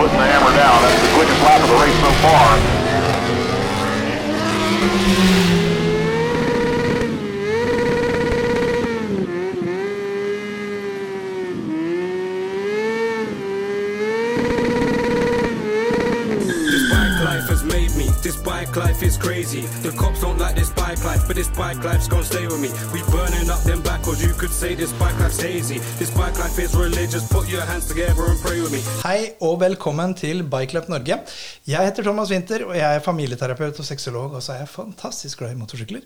putting the hammer down. That's the quickest lap of the race so far. This bike life has made me. This bike life is crazy. The cops don't like this bike life, but this bike life's gonna stay with me. We burning up them backwards. You could say this bike life's hazy. This bike life is religious. Put your hands together and pray with me. Hei og velkommen til Bikeløp Norge. Jeg heter Thomas Winther, og jeg er familieterapeut og sexolog, og så er jeg fantastisk glad i motorsykler.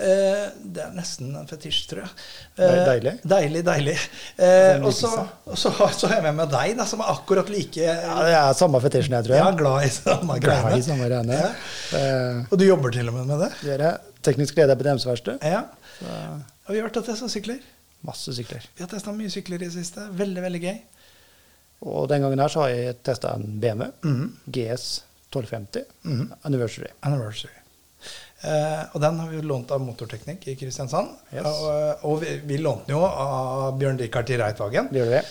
Eh, det er nesten en fetisj, tror jeg. Eh, Deilig. Deilig, deilig. Eh, en og så, lidelse. og så, så har jeg med meg deg, da, som er akkurat like Ja, det er samme fetisjen, jeg tror ja, jeg. glad i samme Glad i greiene. samme greiene. Ja. Eh, Og du jobber til og med med det? det gjør jeg. Teknisk leder på DMS-verkstedet. Ja. Og vi har vært og testa sykler. Masse sykler. Vi har testa mye sykler i det siste. Veldig, veldig gøy. Og den gangen her så har jeg testa en BMW Mhm. GS 1250 Anniversary. Anniversary. Eh, og den har vi jo lånt av Motorteknikk i Kristiansand. Yes. Og, eh, og vi, vi lånte den jo av Bjørn Rikard til Reitvagen. Det gjør det.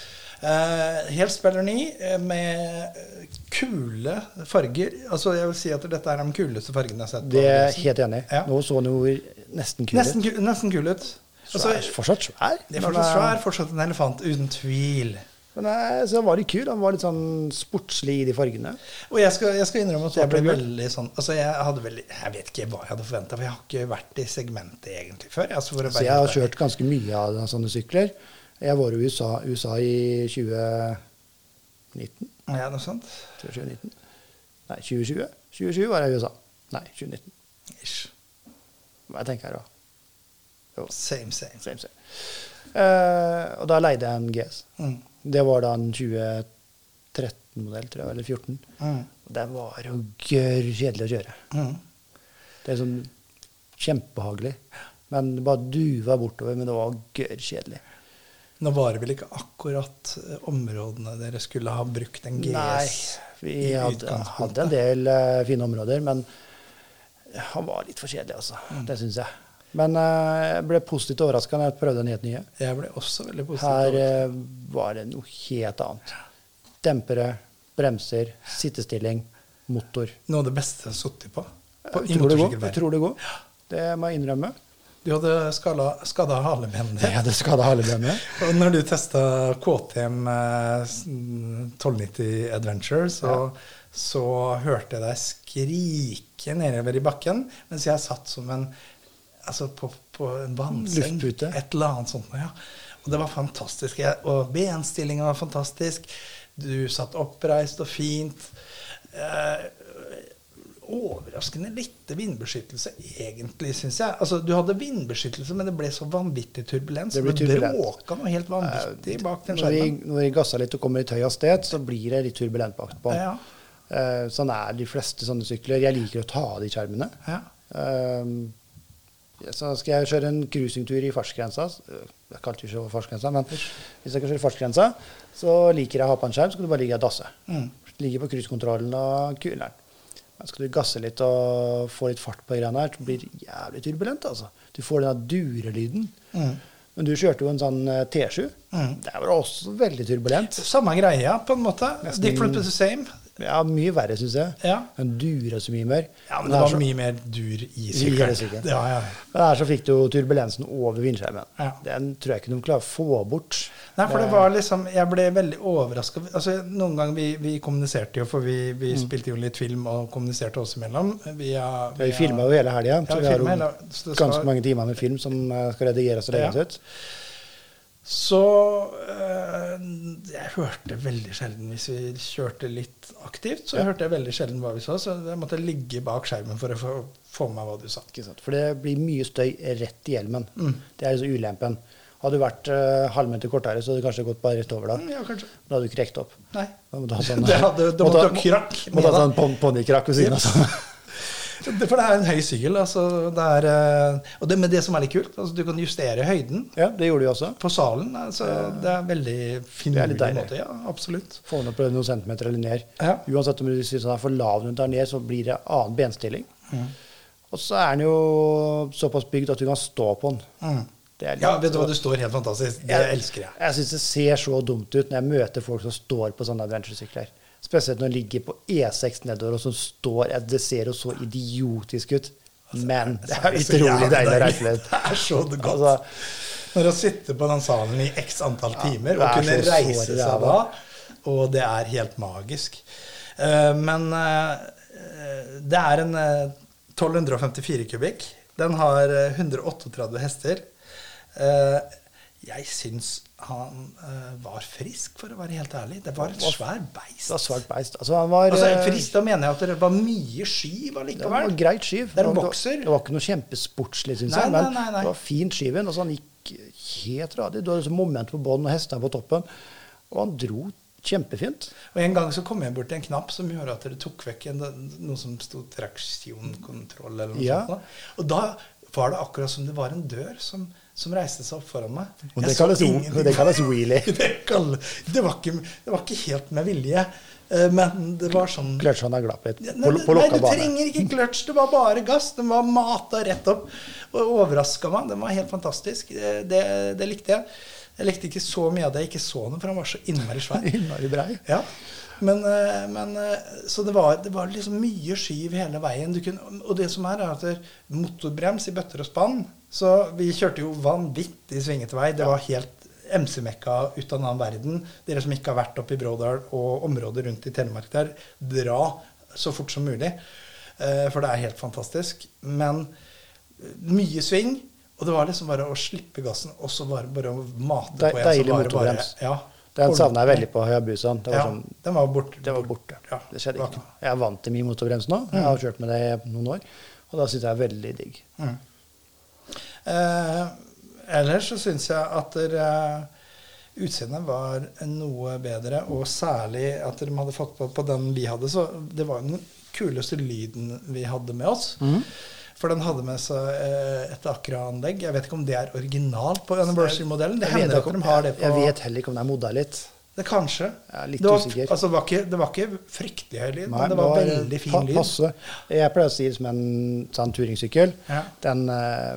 Eh, helt spreller ny eh, med eh, kule farger. Altså jeg vil si at dette er de kuleste fargene jeg har sett. på Det er jeg avisen. helt enig i. Ja. Nå så den jo nesten kul Nesten, ut. ku- nesten kul ut. Altså, Svær, fortsatt svær. det er fortsatt svær, fortsatt en elefant, uten tvil. Men eh, så den var litt kul. Den var litt sånn sportslig i de fargene. Og jeg skal, jeg skal innrømme at jeg Svart ble og gul. veldig sånn altså jeg, hadde veldig, jeg vet ikke hva jeg hadde forventa, for jeg har ikke vært i segmentet egentlig før. Altså for å være Så jeg har helt ærlig. kjørt ganske mye av den- sånne sykler. Jeg var jo i USA, USA i 2019. Ja, noe sånt. Tror jeg 2019. Nei, 2020. 2020 var jeg i USA. Nei, 2019. Ish. Hva jeg tenker jeg da? Same, same. Same, same. Eh, og da leide jeg en GS. Mm. Det var da en 2013-modell, tror jeg, eller 14. Mm. Og Den var jo gørr kjedelig å kjøre. Mm. Det er sånn kjempehagelig. Men det bare duva bortover, men det var gørr kjedelig. Nå var det vel ikke akkurat eh, områdene dere skulle ha brukt en GS vi i hadde, utgangspunktet. hadde en del eh, fine områder, men han var litt for kjedelig, altså. Mm. Det syns jeg. Men eh, jeg ble positivt overraska da jeg prøvde den helt nye. Jeg ble også veldig Her positiv. eh, var det noe helt annet. Dempere, bremser, sittestilling, motor. Noe av det beste jeg har sittet på. på i Utrolig god. motorsykkelverden. Utrolig god. Det må jeg innrømme. Du hadde skala, skada halebenen Det din. hadde skada halebenet. Og når du testa KTM eh, s- 1290 Adventure, så, så hørte jeg deg skrike nedover i bakken mens jeg satt som en altså på, på en vannseng. Luftpute. Et eller annet sånt. Ja. Og det var fantastisk. Jeg, og benstillingen var fantastisk. Du satt oppreist og fint. Eh, overraskende lite vindbeskyttelse, egentlig, syns jeg. Altså, du hadde vindbeskyttelse, men det ble så vanvittig turbulens. Det Det, blir turbulent. bråka noe helt vanvittig bak den Eh, Når vi, skjermen. når vi gasser litt og kommer litt høy hastighet, så blir det litt turbulent bak på. Ja. Eh, sånn er de fleste sånne sykler. Jeg liker å ta av de skjermene. Ja. Eh, så skal jeg kjøre en cruisingtur i fartsgrensa. s- eh, Jeg kalte det ikke for fartsgrensa, men hvis jeg skal kjøre fartsgrensa, så liker jeg å ha på en skjerm, så kan du bare ligge og dasse. Mm. Ligge på cruisekontrollen og kuleren. Men skal du gasse litt og få litt fart på greiene her, så blir det jævlig turbulent, altså. Du får den der durelyden. Mm. Men du kjørte jo en sånn eh, T7. Det var også veldig turbulent. Samme greia, på en måte. Nesten- Different but the same. Ja, mye verre, syns jeg. Ja. Den durer så mye mer. Ja, men Den det her var så- mye mer dur i Videre sykkelen. sykkel. Ja, ja. Men her så fikk du jo turbulensen over vindskjermen. Ja. Den tror jeg ikke de klarer å få bort. Nei, for det var liksom Jeg ble veldig overraska. Altså, noen ganger vi, vi kommuniserte jo, for vi, vi spilte jo litt film og kommuniserte oss imellom. Via, Mm. Ja, Eh, vi via- filma jo hele helga, Ja, så vi vi har jo filmet hele- så det skal- ganske mange timer med film som eh, skal redigeres og legges Ja. ut. Så eh, jeg hørte veldig sjelden hvis vi kjørte litt aktivt. Så hørte jeg veldig sjelden hva vi så, så jeg måtte ligge bak skjermen for å få, få med meg hva du sa. Ikke sant? For det blir mye støy rett i hjelmen. Mm. Det er liksom ulempen. Hadde du vært eh, halvmeter kortere, så hadde du kanskje gått bare rett over da. Mm, Ja, kanskje. Da hadde du ikke rekt opp. Nei. Da måtte du ha sånn, Det hadde- da måtte du ha krakk med Måtte ha deg. sånn pon- ponnikrakk ved siden av. Sånn. Det- For det er en høy sykkel. Altså, det er, eh, og det, men det som er litt kult, altså, du kan justere høyden Ja, det gjorde vi også. på salen. Altså, det er veldig Det er litt finurlig deilig. måte. Ja, absolutt. Få den opp noen centimeter eller ned. Ja. Uansett om du syns den er for lav når du tar ned, så blir det Mm. annen benstilling. Og så er den jo såpass bygd at du kan stå på den. Mm. Det er litt- sånn- Ja, vet du hva, du står helt fantastisk. Det elsker jeg. Jeg syns det ser så dumt ut når jeg møter folk som står på sånne adventuresykler. Spesielt når de ligger på E6 nedover og som står Det ser jo så idiotisk ut. Altså, Men det er Så utrolig jævlig deilig å reise litt. Det er så godt. Altså, Når å sitte på den salen i x antall timer og det er kunne så reise såre seg da, ræva. og det er helt magisk. Eh, Men eh, det er en eh, 1254 kubikk. Den har eh, 138 hester. Eh, Jeg syns han eh, var frisk, for å være helt ærlig. Det var et svært beist. det var svart beist. Altså, han var Altså, eh, frisk, da mener jeg at det var mye skyv det var allikevel. en greit skyv. Det er en Det var- bokser. Det var ikke noe kjempesportslig, syns Nei, jeg. nei, Men nei, nei. det var fint skyven. Altså, han gikk helt radig. Du hadde sånn moment på bånn og hester på toppen. Og han dro kjempefint. Og en gang så kom jeg bort til en knapp som gjorde at dere tok vekk en, noe som sto traksjonkontroll eller noe Ja. sånt. Da. Og da var det akkurat som det var en dør som, som reiste seg opp foran meg. Og Jeg det så kalles, ingenting. det kalles wheelie. Det kall- det, var ikke, det var ikke helt med vilje, eh, men det var sånn Kløtsja han har glapp litt. Ja, På, Nei, på, på nei, lukka du bane. trenger ikke kløtsj. Det var bare gass. Den var mata rett opp. Og overraska meg. Den var helt fantastisk. Det, det, det likte jeg. Jeg likte ikke så mye av det jeg ikke så den, for han var så innmari svær. Innmari brei. Ja. Men, eh, men eh, Så det var, det var liksom mye skyv hele veien. Du kunne, og det som er, er at det er motorbrems i bøtter og spann. Så vi kjørte jo vanvittig svingete vei. Det var helt MC-mekka ut av en annen verden. Dere som ikke har vært oppe i Brådal og området rundt i Telemark der, dra så fort som mulig. Eh, For det er helt fantastisk. Men eh, mye sving. Og det var liksom bare å slippe gassen, og så bare, bare å mate De, på en. deilig så var det bare- motorbrems. Ja, Den savna jeg Ordentlig. veldig på Hayabusaen. Det var Ja, sånn den var borte. Det var borte. Ja, Det skjedde var ikke noe. Jeg er vant til min motorbrems nå. Jeg Mm. har kjørt med det i noen år. Og da syns jeg det er veldig digg. Eh, ellers så syns jeg at dere utseendet var noe bedre, og særlig at dere hadde fått på, på den vi hadde. Så det var jo den kuleste lyden vi hadde med oss. Mm. For den hadde med seg eh, et Acra-anlegg. Jeg vet ikke om det er originalt på Anniversary-modellen. Det Jeg vet hender ikke at om- de har det på Jeg vet heller ikke om det er modda litt. Det Kanskje. Jeg er litt det, var, usikker. altså, det, var ikke, det var ikke fryktelig høy lyd, Nei, men det var, eh, veldig pa- fin lyd. Passe. Jeg pleier å si det som en sånn turingsykkel. Ja. Den eh,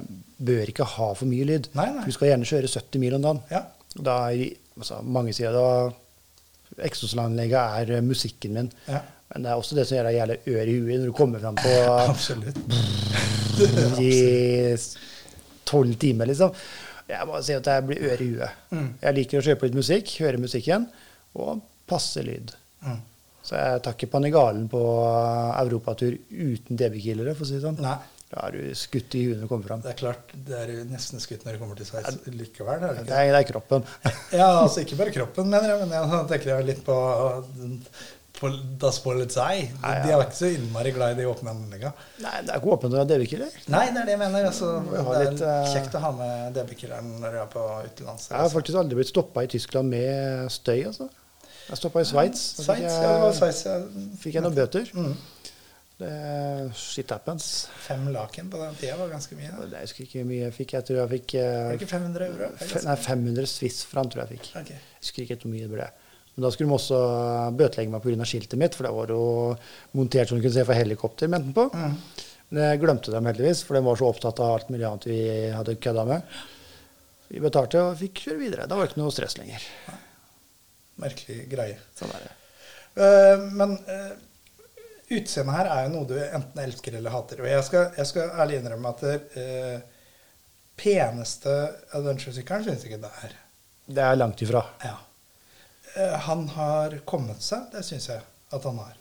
bør ikke ha for mye lyd. Nei, nei. Du skal gjerne kjøre 70 mil om dagen. Ja. Da er, altså, mange sier da Eksosanlegget er eh, musikken min. Ja. Men det er også det som gjør deg jævlig ør i huet når du kommer fram på Absolutt. i tolv timer, liksom. Jeg må si at jeg blir øre i huet. Mm. Jeg liker å kjøpe litt musikk, høre musikken, og passe lyd. Mm. Så jeg tar ikke Panigalen på europatur uten DB-killere, for å si det sånn. Nei. Da er du skutt i huet når du kommer fram. Det er klart, det er jo nesten skutt når det kommer til Sveits likevel. Er det ikke? Det er, det er kroppen. Ja, altså ikke bare kroppen, mener jeg, men jeg tenker jeg litt på, på Das Polizei. De Ja, ja. er ikke så innmari glad i de åpne anleggene. Nei, det er ikke åpent når du er DB-killer. Nei, det er det jeg mener. Altså, vi ha det er litt, eh, kjekt å ha med DB-killeren når du er på utenlands. Jeg har faktisk aldri blitt stoppa i Tyskland med støy, altså. Jeg stoppa i Sveits. Da fikk Sveits, ja, det var Sveits. Ja. Mm. jeg- Fikk jeg noen bøter. Det, shit happens. Fem laken på den tida var ganske mye. da. Det er ikke hvor mye jeg fikk. Jeg tror jeg fikk eh, Er det ikke 500 euro? Er det fe- ganske- nei, 500 Swiss franc, tror jeg fikk. Ok. Jeg husker ikke helt hvor mye det ble. Men da skulle de også bøtelegge meg pga. skiltet mitt, for det var jo montert så du kunne se fra helikopter. mente den på. Mm. Men jeg glemte dem heldigvis, for de var så opptatt av alt mulig annet vi hadde kødda med. Vi betalte og fikk kjøre videre. Da var det ikke noe stress lenger. Merkelig greie. Sånn er det. Eh, men eh, utseendet her er jo noe du enten elsker eller hater. Og jeg skal, jeg skal ærlig innrømme at det eh, peneste adventuresykkelen finnes ikke der. Det er langt ifra. Ja. Eh, han har kommet seg, det syns jeg at han har.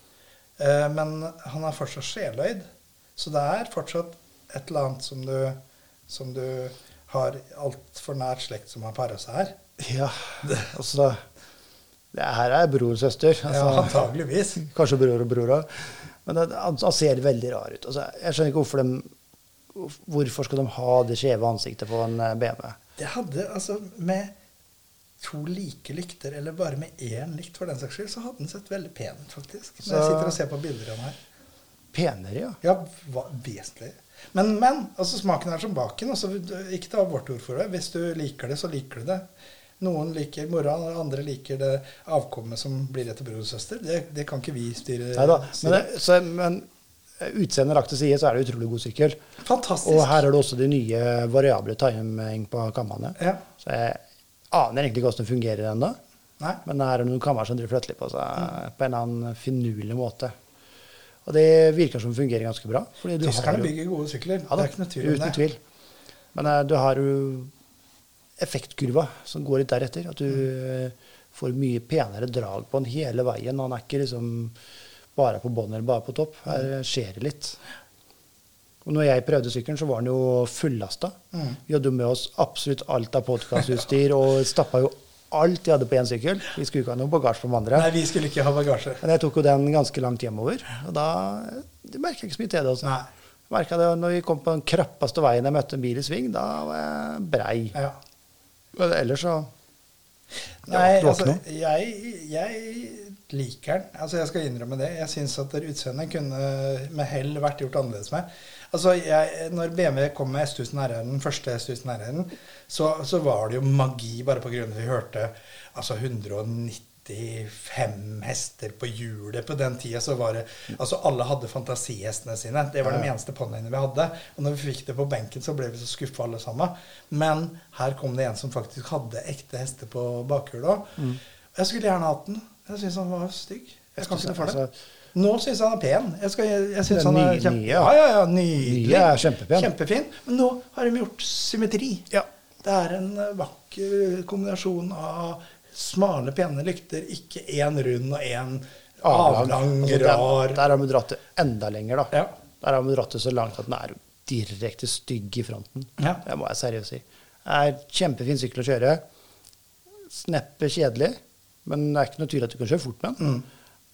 Eh, men han er fortsatt sjeløyd. Så det er fortsatt et eller annet som du, som du har altfor nært slekt som har para seg her. Ja, altså Det her er bror og søster. Altså, ja, antageligvis. Kanskje bror og bror òg. Men han, han han ser veldig rar ut. Altså, jeg skjønner ikke hvorfor de Hvorfor skal de ha det skjeve ansiktet på en eh, BMW? Det hadde altså med to like lykter, eller bare med én lykt for den saks skyld, så hadde den sett veldig pen ut, faktisk. Når jeg Så- sitter og ser på bilder av den her. Penere, ja. Ja, hva, vesentlig. Men, men altså, smaken er som baken. Altså, ikke ta vårt ord for det. Hvis du liker det, så liker du det. Noen liker mora, og andre liker det avkommet som blir etter bror og søster. Det, det kan ikke vi styre. Neida, Men, styre. det, så, men utseendet lagt til side, så er det utrolig god sykkel. Fantastisk. Og her har du også de nye variable timing på kammene. Ja. Så jeg aner egentlig ikke hvordan det fungerer ennå. Nei. Mm. Men her er det noen kammer som driver flytter litt på seg på en eller annen finurlig måte. Og det virker som fungerer ganske bra. fordi du har Tyskerne jo- bygger gode sykler. ja, det er ikke noe tvil om uten det. tvil. Men eh, du har jo effektkurva som går litt deretter. At du eh, får mye penere drag på den hele veien. Han er ikke liksom bare på bånn eller bare på topp. Her eh, skjer det litt. Og når jeg prøvde sykkelen, så var den jo fullasta. Mm. Vi hadde jo med oss absolutt alt av podkastutstyr og stappa jo alt jeg hadde på én sykkel. Vi skulle ikke ha noe bagasje på den andre. Nei, vi skulle ikke ha bagasje. Men jeg tok jo den ganske langt hjemover, og da eh, det merka jeg ikke så mye til det. Altså. Nei. Merket det når vi kom på den krappeste veien jeg møtte en bil i sving, da var jeg brei. Ja. Men ellers så det Nei, var ikke altså, noe. jeg, jeg liker den. Altså, jeg skal innrømme det. Jeg syns at utseendet kunne med hell vært gjort annerledes med. Altså, jeg, når BMW kom med S1000 RR, den første S1000 RR-en, så, så var det jo magi bare på grunn av at vi hørte altså 195 hester på hjulet på den tida. Så var det Altså, alle hadde fantasihestene sine. Det var de eneste ponniene vi hadde. Og når vi fikk det på benken, så ble vi så skuffa alle sammen. Men her kom det en som faktisk hadde ekte hester på bakhjulet òg. Jeg skulle gjerne hatt den. Jeg syns han var stygg. Jeg kan ikke noe for det. Nå syns jeg han er pen. Jeg, skal, jeg, jeg synes Den han er nye- kjempe... nye, ja, ja. ja, ja, nydelig. Nye er kjempepen. Kjempefin. Men nå har de gjort symmetri. Det er en eh, vakker kombinasjon av smale, pene lykter. Ikke én rund og én avlang, Altså, den- rar Der har vi dratt det enda lenger, da. Ja. Der har vi dratt det så langt at den er jo direkte stygg i fronten. Ja. Det må jeg seriøst si. Det er kjempefin sykkel å kjøre. Sneppe kjedelig, men det er ikke noe tvil at du kan kjøre fort med den.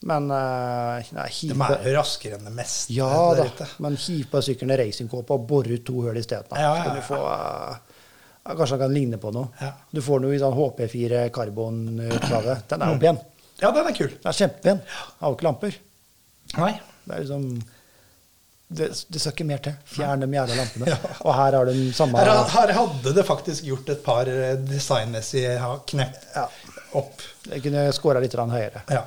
Men eh, nei, Mm. De hiv er på- jo raskere enn det meste ja der da, ute. men hiv på sykkelen en racingkåpe og bore ut to hull isteden. Ja, ja, Ja, Så kan ja. du få eh, ja, Kanskje han kan ligne på noe. Ja. Du får noe i sånn HP4 karbonutgave. Den er jo pen. Mm. Ja, den er kul. Den er kjempepen. Har jo ikke lamper. Nei. Det er liksom det, det skal ikke mer til. Fjern de jævla lampene. Ja. Og her har de samme Her, her hadde det faktisk gjort et par eh, designmessige ha- knep Ja. opp. Jeg kunne skåra litt grann høyere. Ja.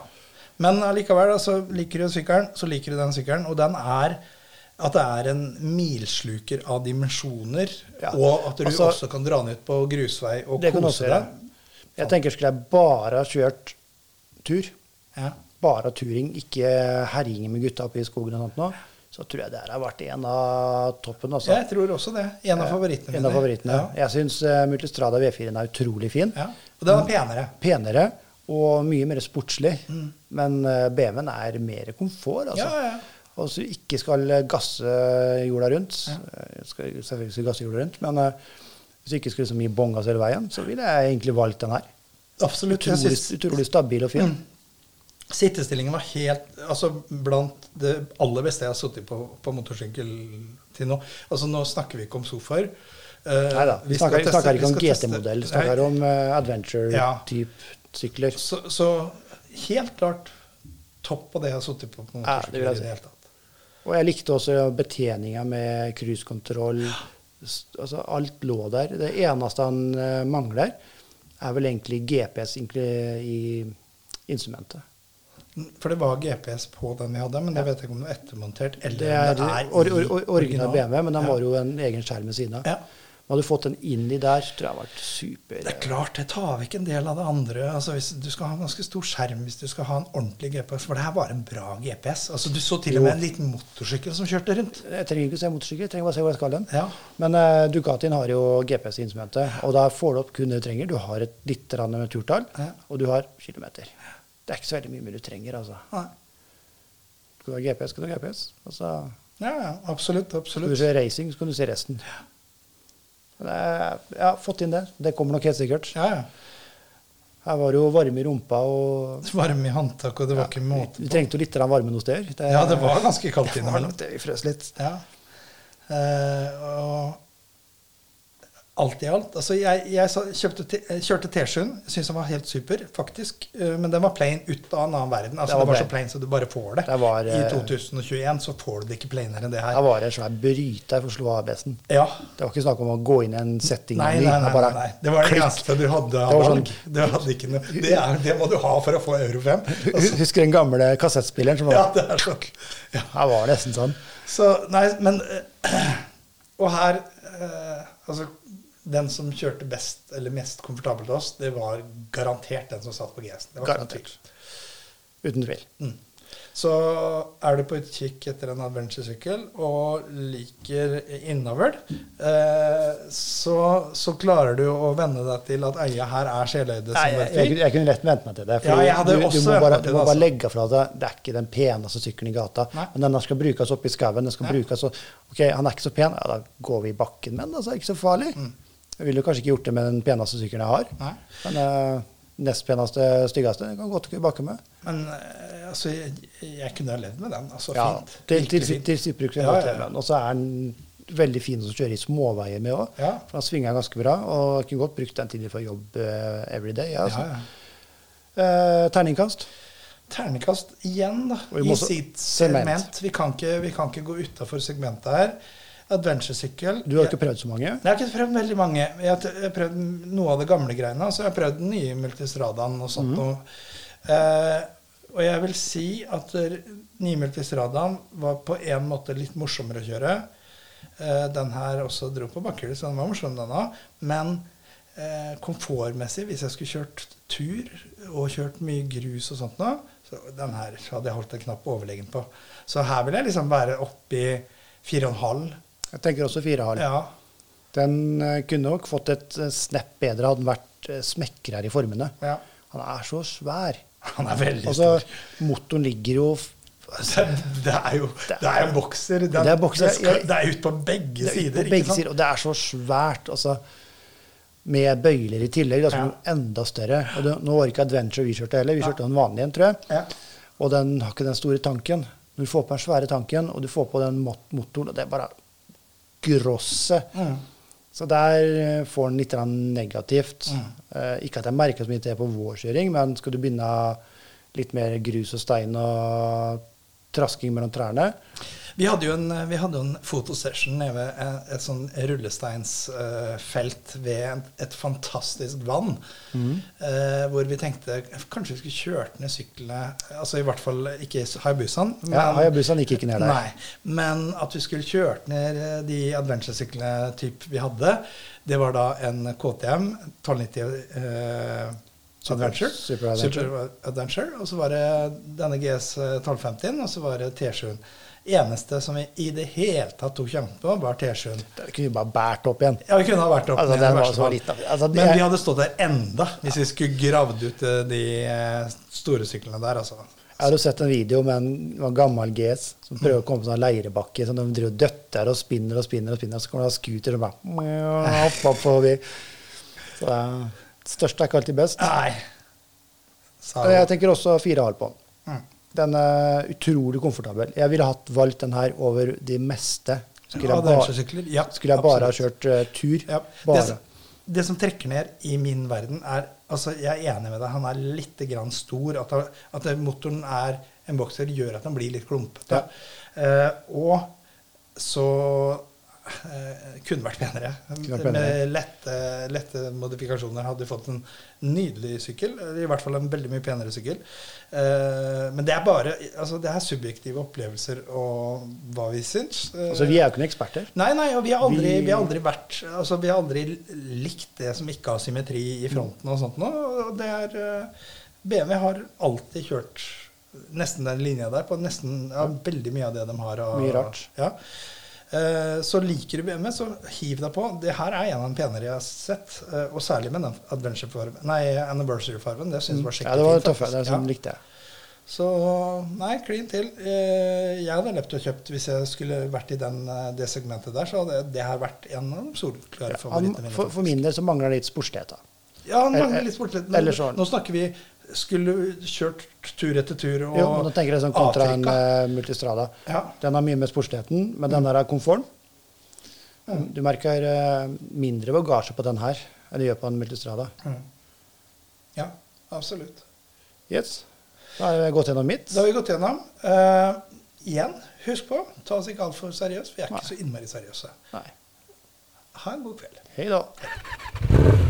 Men allikevel, altså, liker du sykkelen, så liker du den sykkelen. Og den er at det er en milsluker av dimensjoner, Ja. og at du Altså, også kan dra den ut på grusvei og Det kan du kose også gjøre. deg. Jeg tenker skulle jeg bare ha kjørt tur, Ja. bare turing, ikke herjing med gutta oppe i skogen og sånt nå, så tror jeg det her har vært en av toppen altså. også. Jeg tror også det. En av favorittene En av favorittene. Jeg syns uh, Multistrada V4-en er utrolig fin. Ja. Ja. Og den er penere. Penere og mye mer sportslig. Men uh, BMW-en er mer komfort, altså. Mm. Ja, ja. Og så ikke skal eh, gasse jorda rundt. Eh, Skal, selvfølgelig skal gasse jorda rundt, men eh, hvis du ikke skulle så mye bånn gass hele veien, så ville jeg egentlig valgt den her. Absolutt. Jeg Utrolig, synes- Mm. utrolig stabil og fin. Sittestillingen var helt Altså blant det aller beste jeg har sittet på på motorsykkel til nå. Altså nå snakker vi ikke om sofaer. Eh, Nei da. Vi skal snakker, teste- snakker vi ikke om skal teste- GT-modell, Nei, snakker om eh, Ja. adventure-type sykler. så, så helt klart topp på det jeg har sittet på på Ja, det motorsykkel vil jeg i si. det hele tatt. Og jeg likte også betjeninga med cruisekontroll. S- Altså, alt lå der. Det eneste han eh, mangler, er vel egentlig GPS egentlig, i instrumentet. For det var GPS på den vi hadde, men det vet jeg ikke om det er ettermontert eller Det er, om or, i or, or, original BMW, men den Ja. var jo en egen skjerm ved siden av. Ja. Men hadde du fått den inn i der, så tror jeg det hadde vært super Det er klart, det tar vekk en del av det andre. Altså, hvis du skal ha en ganske stor skjerm hvis du skal ha en ordentlig GPS. For det her var en bra GPS. Altså, du så til og med en liten motorsykkel som kjørte rundt. Jeg trenger ikke å se motorsykkel, jeg trenger bare se hvor jeg skal den. Ja. Men eh, Ducatien har jo GPS i instrumentet, og der får du opp kun det du trenger. Du har et lite grann med turtall, Ja. og du har kilometer. Det er ikke så veldig mye mer du trenger, altså. Nei. Skal du ha GPS, skal du ha GPS. Og så Ja, ja, absolutt. skal du absolutt. se racing, så kan du se resten. Men det er- Jeg har fått inn det. Det kommer nok helt sikkert. Ja, ja. Her var det jo varme i rumpa, og Varm i håndtak, og det var ikke måte vi trengte jo litt grann varme noen steder. Det- Ja, det var ganske kaldt Det var innimellom. nok det vi frøs litt. Ja. Eh, og alt i alt. Altså, jeg, jeg sa- kjøpte, te- eh, kjørte T-skjorten. Syns den var helt super, faktisk. Eh, Men den var plain ut av en annen verden. Altså, Den det var var så plain. plain så du bare får det. Det var, I eh, 2021 så får du det ikke plainere enn det her. Det var en svær bryter for å slå ABS-en. Ja. Det var ikke snakk om å gå inn i en setting. Nei, meny, nei, nei, det bare nei, nei. Det var det klikk. eneste du hadde av var valg. sånn- Du hadde ikke noe. Det, er, det må du ha for å få euro 5. Hus- Husker den gamle kassettspilleren som var Ja, det er sånn. Ja. Her var det nesten sånn. Så, nei, men eh, Og her eh, Altså, den som kjørte best eller mest komfortabelt til oss, det var garantert den som satt på GS-en. Det var ikke noe Garantert. Uten tvil. tvil. Så er du på utkikk etter en adventure-sykkel og liker innavl, eh, så, så klarer du å venne deg til at øya her er seløyde Nei, som et jeg, jeg, fyr. kunne- jeg kunne lett vent meg til det. fordi Ja, jeg hadde du, du også må vent bare, meg du til må det, bare altså. legge fra deg Det er ikke den peneste sykkelen i gata. Nei. Men denne skal brukes oppe i skauen. Den skal Ja. brukes, og, ok, Han er ikke så pen, ja, da går vi i bakken med den. Altså, det er ikke så farlig. Jeg ville jo kanskje ikke gjort det med den peneste sykkelen jeg har. Mm. Nei. Den eh, nest peneste, styggeste. Den kan godt gå i bakken med. Men eh, altså, jeg, jeg kunne ha levd med den. Altså, Ja, fint. til, til, Virkelig til, fint. til sittbruken. Ja, ja, ja. Og så er den veldig fin som kjører i småveier med òg. Ja. For han svinger ganske bra. Og jeg kunne godt brukt den tiden for jobb eh, every day. Ja, altså. Ja, ja. Eh, terningkast. Ternekast igjen, da. Og vi må I også- sitt segment. segment. Vi kan ikke, vi kan ikke gå utafor segmentet her. Adventure-sykkel. Du har ikke prøvd så mange. Jeg har ikke prøvd veldig mange. Jeg har t- jeg har prøvd noe av det gamle greiene. Altså, jeg har prøvd den nye Multistradaen og sånt. Og, eh, og jeg vil si at der- nye Multistradaen var på en måte litt morsommere å kjøre. Eh, den her også dro på bakhjulet, så den var morsom, den òg. Men eh, komfortmessig, hvis jeg skulle kjørt tur og kjørt mye grus og sånt nå, så den her hadde jeg holdt en knapp overlegen på. Så her vil jeg liksom være oppi fire og en halv. Jeg tenker også firehall. Ja. Den eh, kunne nok fått et eh, snepp bedre hadde den vært eh, smekrere i formene. Ja. Han er så svær. Han er veldig Altså, stor. motoren ligger jo f- Det, Altså, det er jo det er en bokser. Det er, Det er bokser. det skal- det er ut på begge Det er sider. På begge ikke sant? sider. Og det er så svært. altså med bøyler i tillegg, da, som Ja. er enda større. Og det, nå var ikke Adventure vi kjørte heller, vi kjørte en vanlig en, tror jeg. Ja. Og den har ikke den store tanken. Når du får på den svære tanken, og du får på den mot motoren, og det er bare grosset. Mm. Så der eh, får den litt grann negativt. Eh, ikke at jeg merker så mye til det på vår kjøring, men skal du begynne litt mer grus og stein og trasking mellom trærne Vi hadde jo en, vi hadde jo en fotosession nede ved et, et sånn rullesteinsfelt ved et, et fantastisk vann. Mm. Eh, hvor vi tenkte kanskje vi skulle kjørt ned syklene Altså i hvert fall ikke Hayabusaen. Ja, men- Hayabusaen gikk ikke ned der. Nei, men at vi skulle kjørt ned eh, de adventure-syklene typ vi hadde, det var da en KTM 1290 eh, Super- Adventure. Super Adventure. Super Adventure. Og så var det denne GS 1250-en, og så var det T7. Eneste som vi i det hele tatt tok kjempe på, var T7. Da kunne vi bare båret opp igjen. Ja, vi kunne ha vært opp Altså, ned, den i var verste så fall. liten. Altså, det- Men vi hadde stått der enda hvis vi skulle gravd ut eh, de eh, store syklene der, altså. Jeg har jo sett en video med en, med en gammel GS som prøver å komme på en sånn leirebakke. Som de driver og døtter og spinner og spinner, og spinner, og så kommer det en scooter som bare opp, opp forbi. Så det er- største er ikke alltid best. Nei. Sa Jeg vi. tenker også fire halv på den. Mm. Den er utrolig komfortabel. Jeg ville hatt valgt den her over de meste. Skulle jeg Ja, bare, adventuresykler. Ja, skulle jeg bare ha absolutt. kjørt eh, tur. Ja. Det, Bare. som- det som trekker ned i min verden, er altså Jeg er enig med deg, han er litt grann stor. At, han- at motoren er en bokser, gjør at han blir litt klumpete. Eh, og så eh, kunne vært penere. vært penere. Med lette, lette modifikasjoner hadde vi fått en nydelig sykkel. eller I hvert fall en veldig mye penere sykkel. Eh, men det er bare altså Det er subjektive opplevelser og hva vi syns. Eh, Altså, vi er jo ikke noen eksperter. Nei, nei, og vi har aldri, Vi- vi har aldri vært Altså, vi har aldri likt det som ikke har symmetri i fronten og sånt noe. Og det er eh, BMW har alltid kjørt nesten den linja der på nesten ja, veldig mye av det de har. av- Mye rart. Ja. Eh, Så liker du BMW, så hiv deg på. Det her er en av de penere jeg har sett. eh, Og særlig med den adventure-farven Nei, anniversary-farven. Det syns jeg var Mm. Ja, skikkelig det sånn var fint, tøffe. faktisk. Den Ja. som likte jeg. Så nei, klin til. Eh, Jeg hadde løpt og kjøpt hvis jeg skulle vært i den, eh, det segmentet der, så hadde det her vært en av de solklare Han, favorittene mine. for, for min del så mangler det litt sportslighet. da. ja, han eller- mangler litt sportslighet. men eller sånn. Nå snakker vi Skulle kjørt tur etter tur og Jo, men nå tenker jeg sånn kontra en Afrika. eh, Multistrada. Ja. Mm. Den har mye med sportsligheten, men den der er komforten. Eh, Du merker eh, mindre bagasje på den her enn du gjør på en Multistrada. Mm. Ja, absolutt. Yes. Da har vi gått gjennom mitt. Da har vi gått gjennom. Eh, igjen, husk på, ta oss ikke altfor seriøst. Vi er ikke Nei. så innmari seriøse. Nei. Ha en god kveld. Hei da.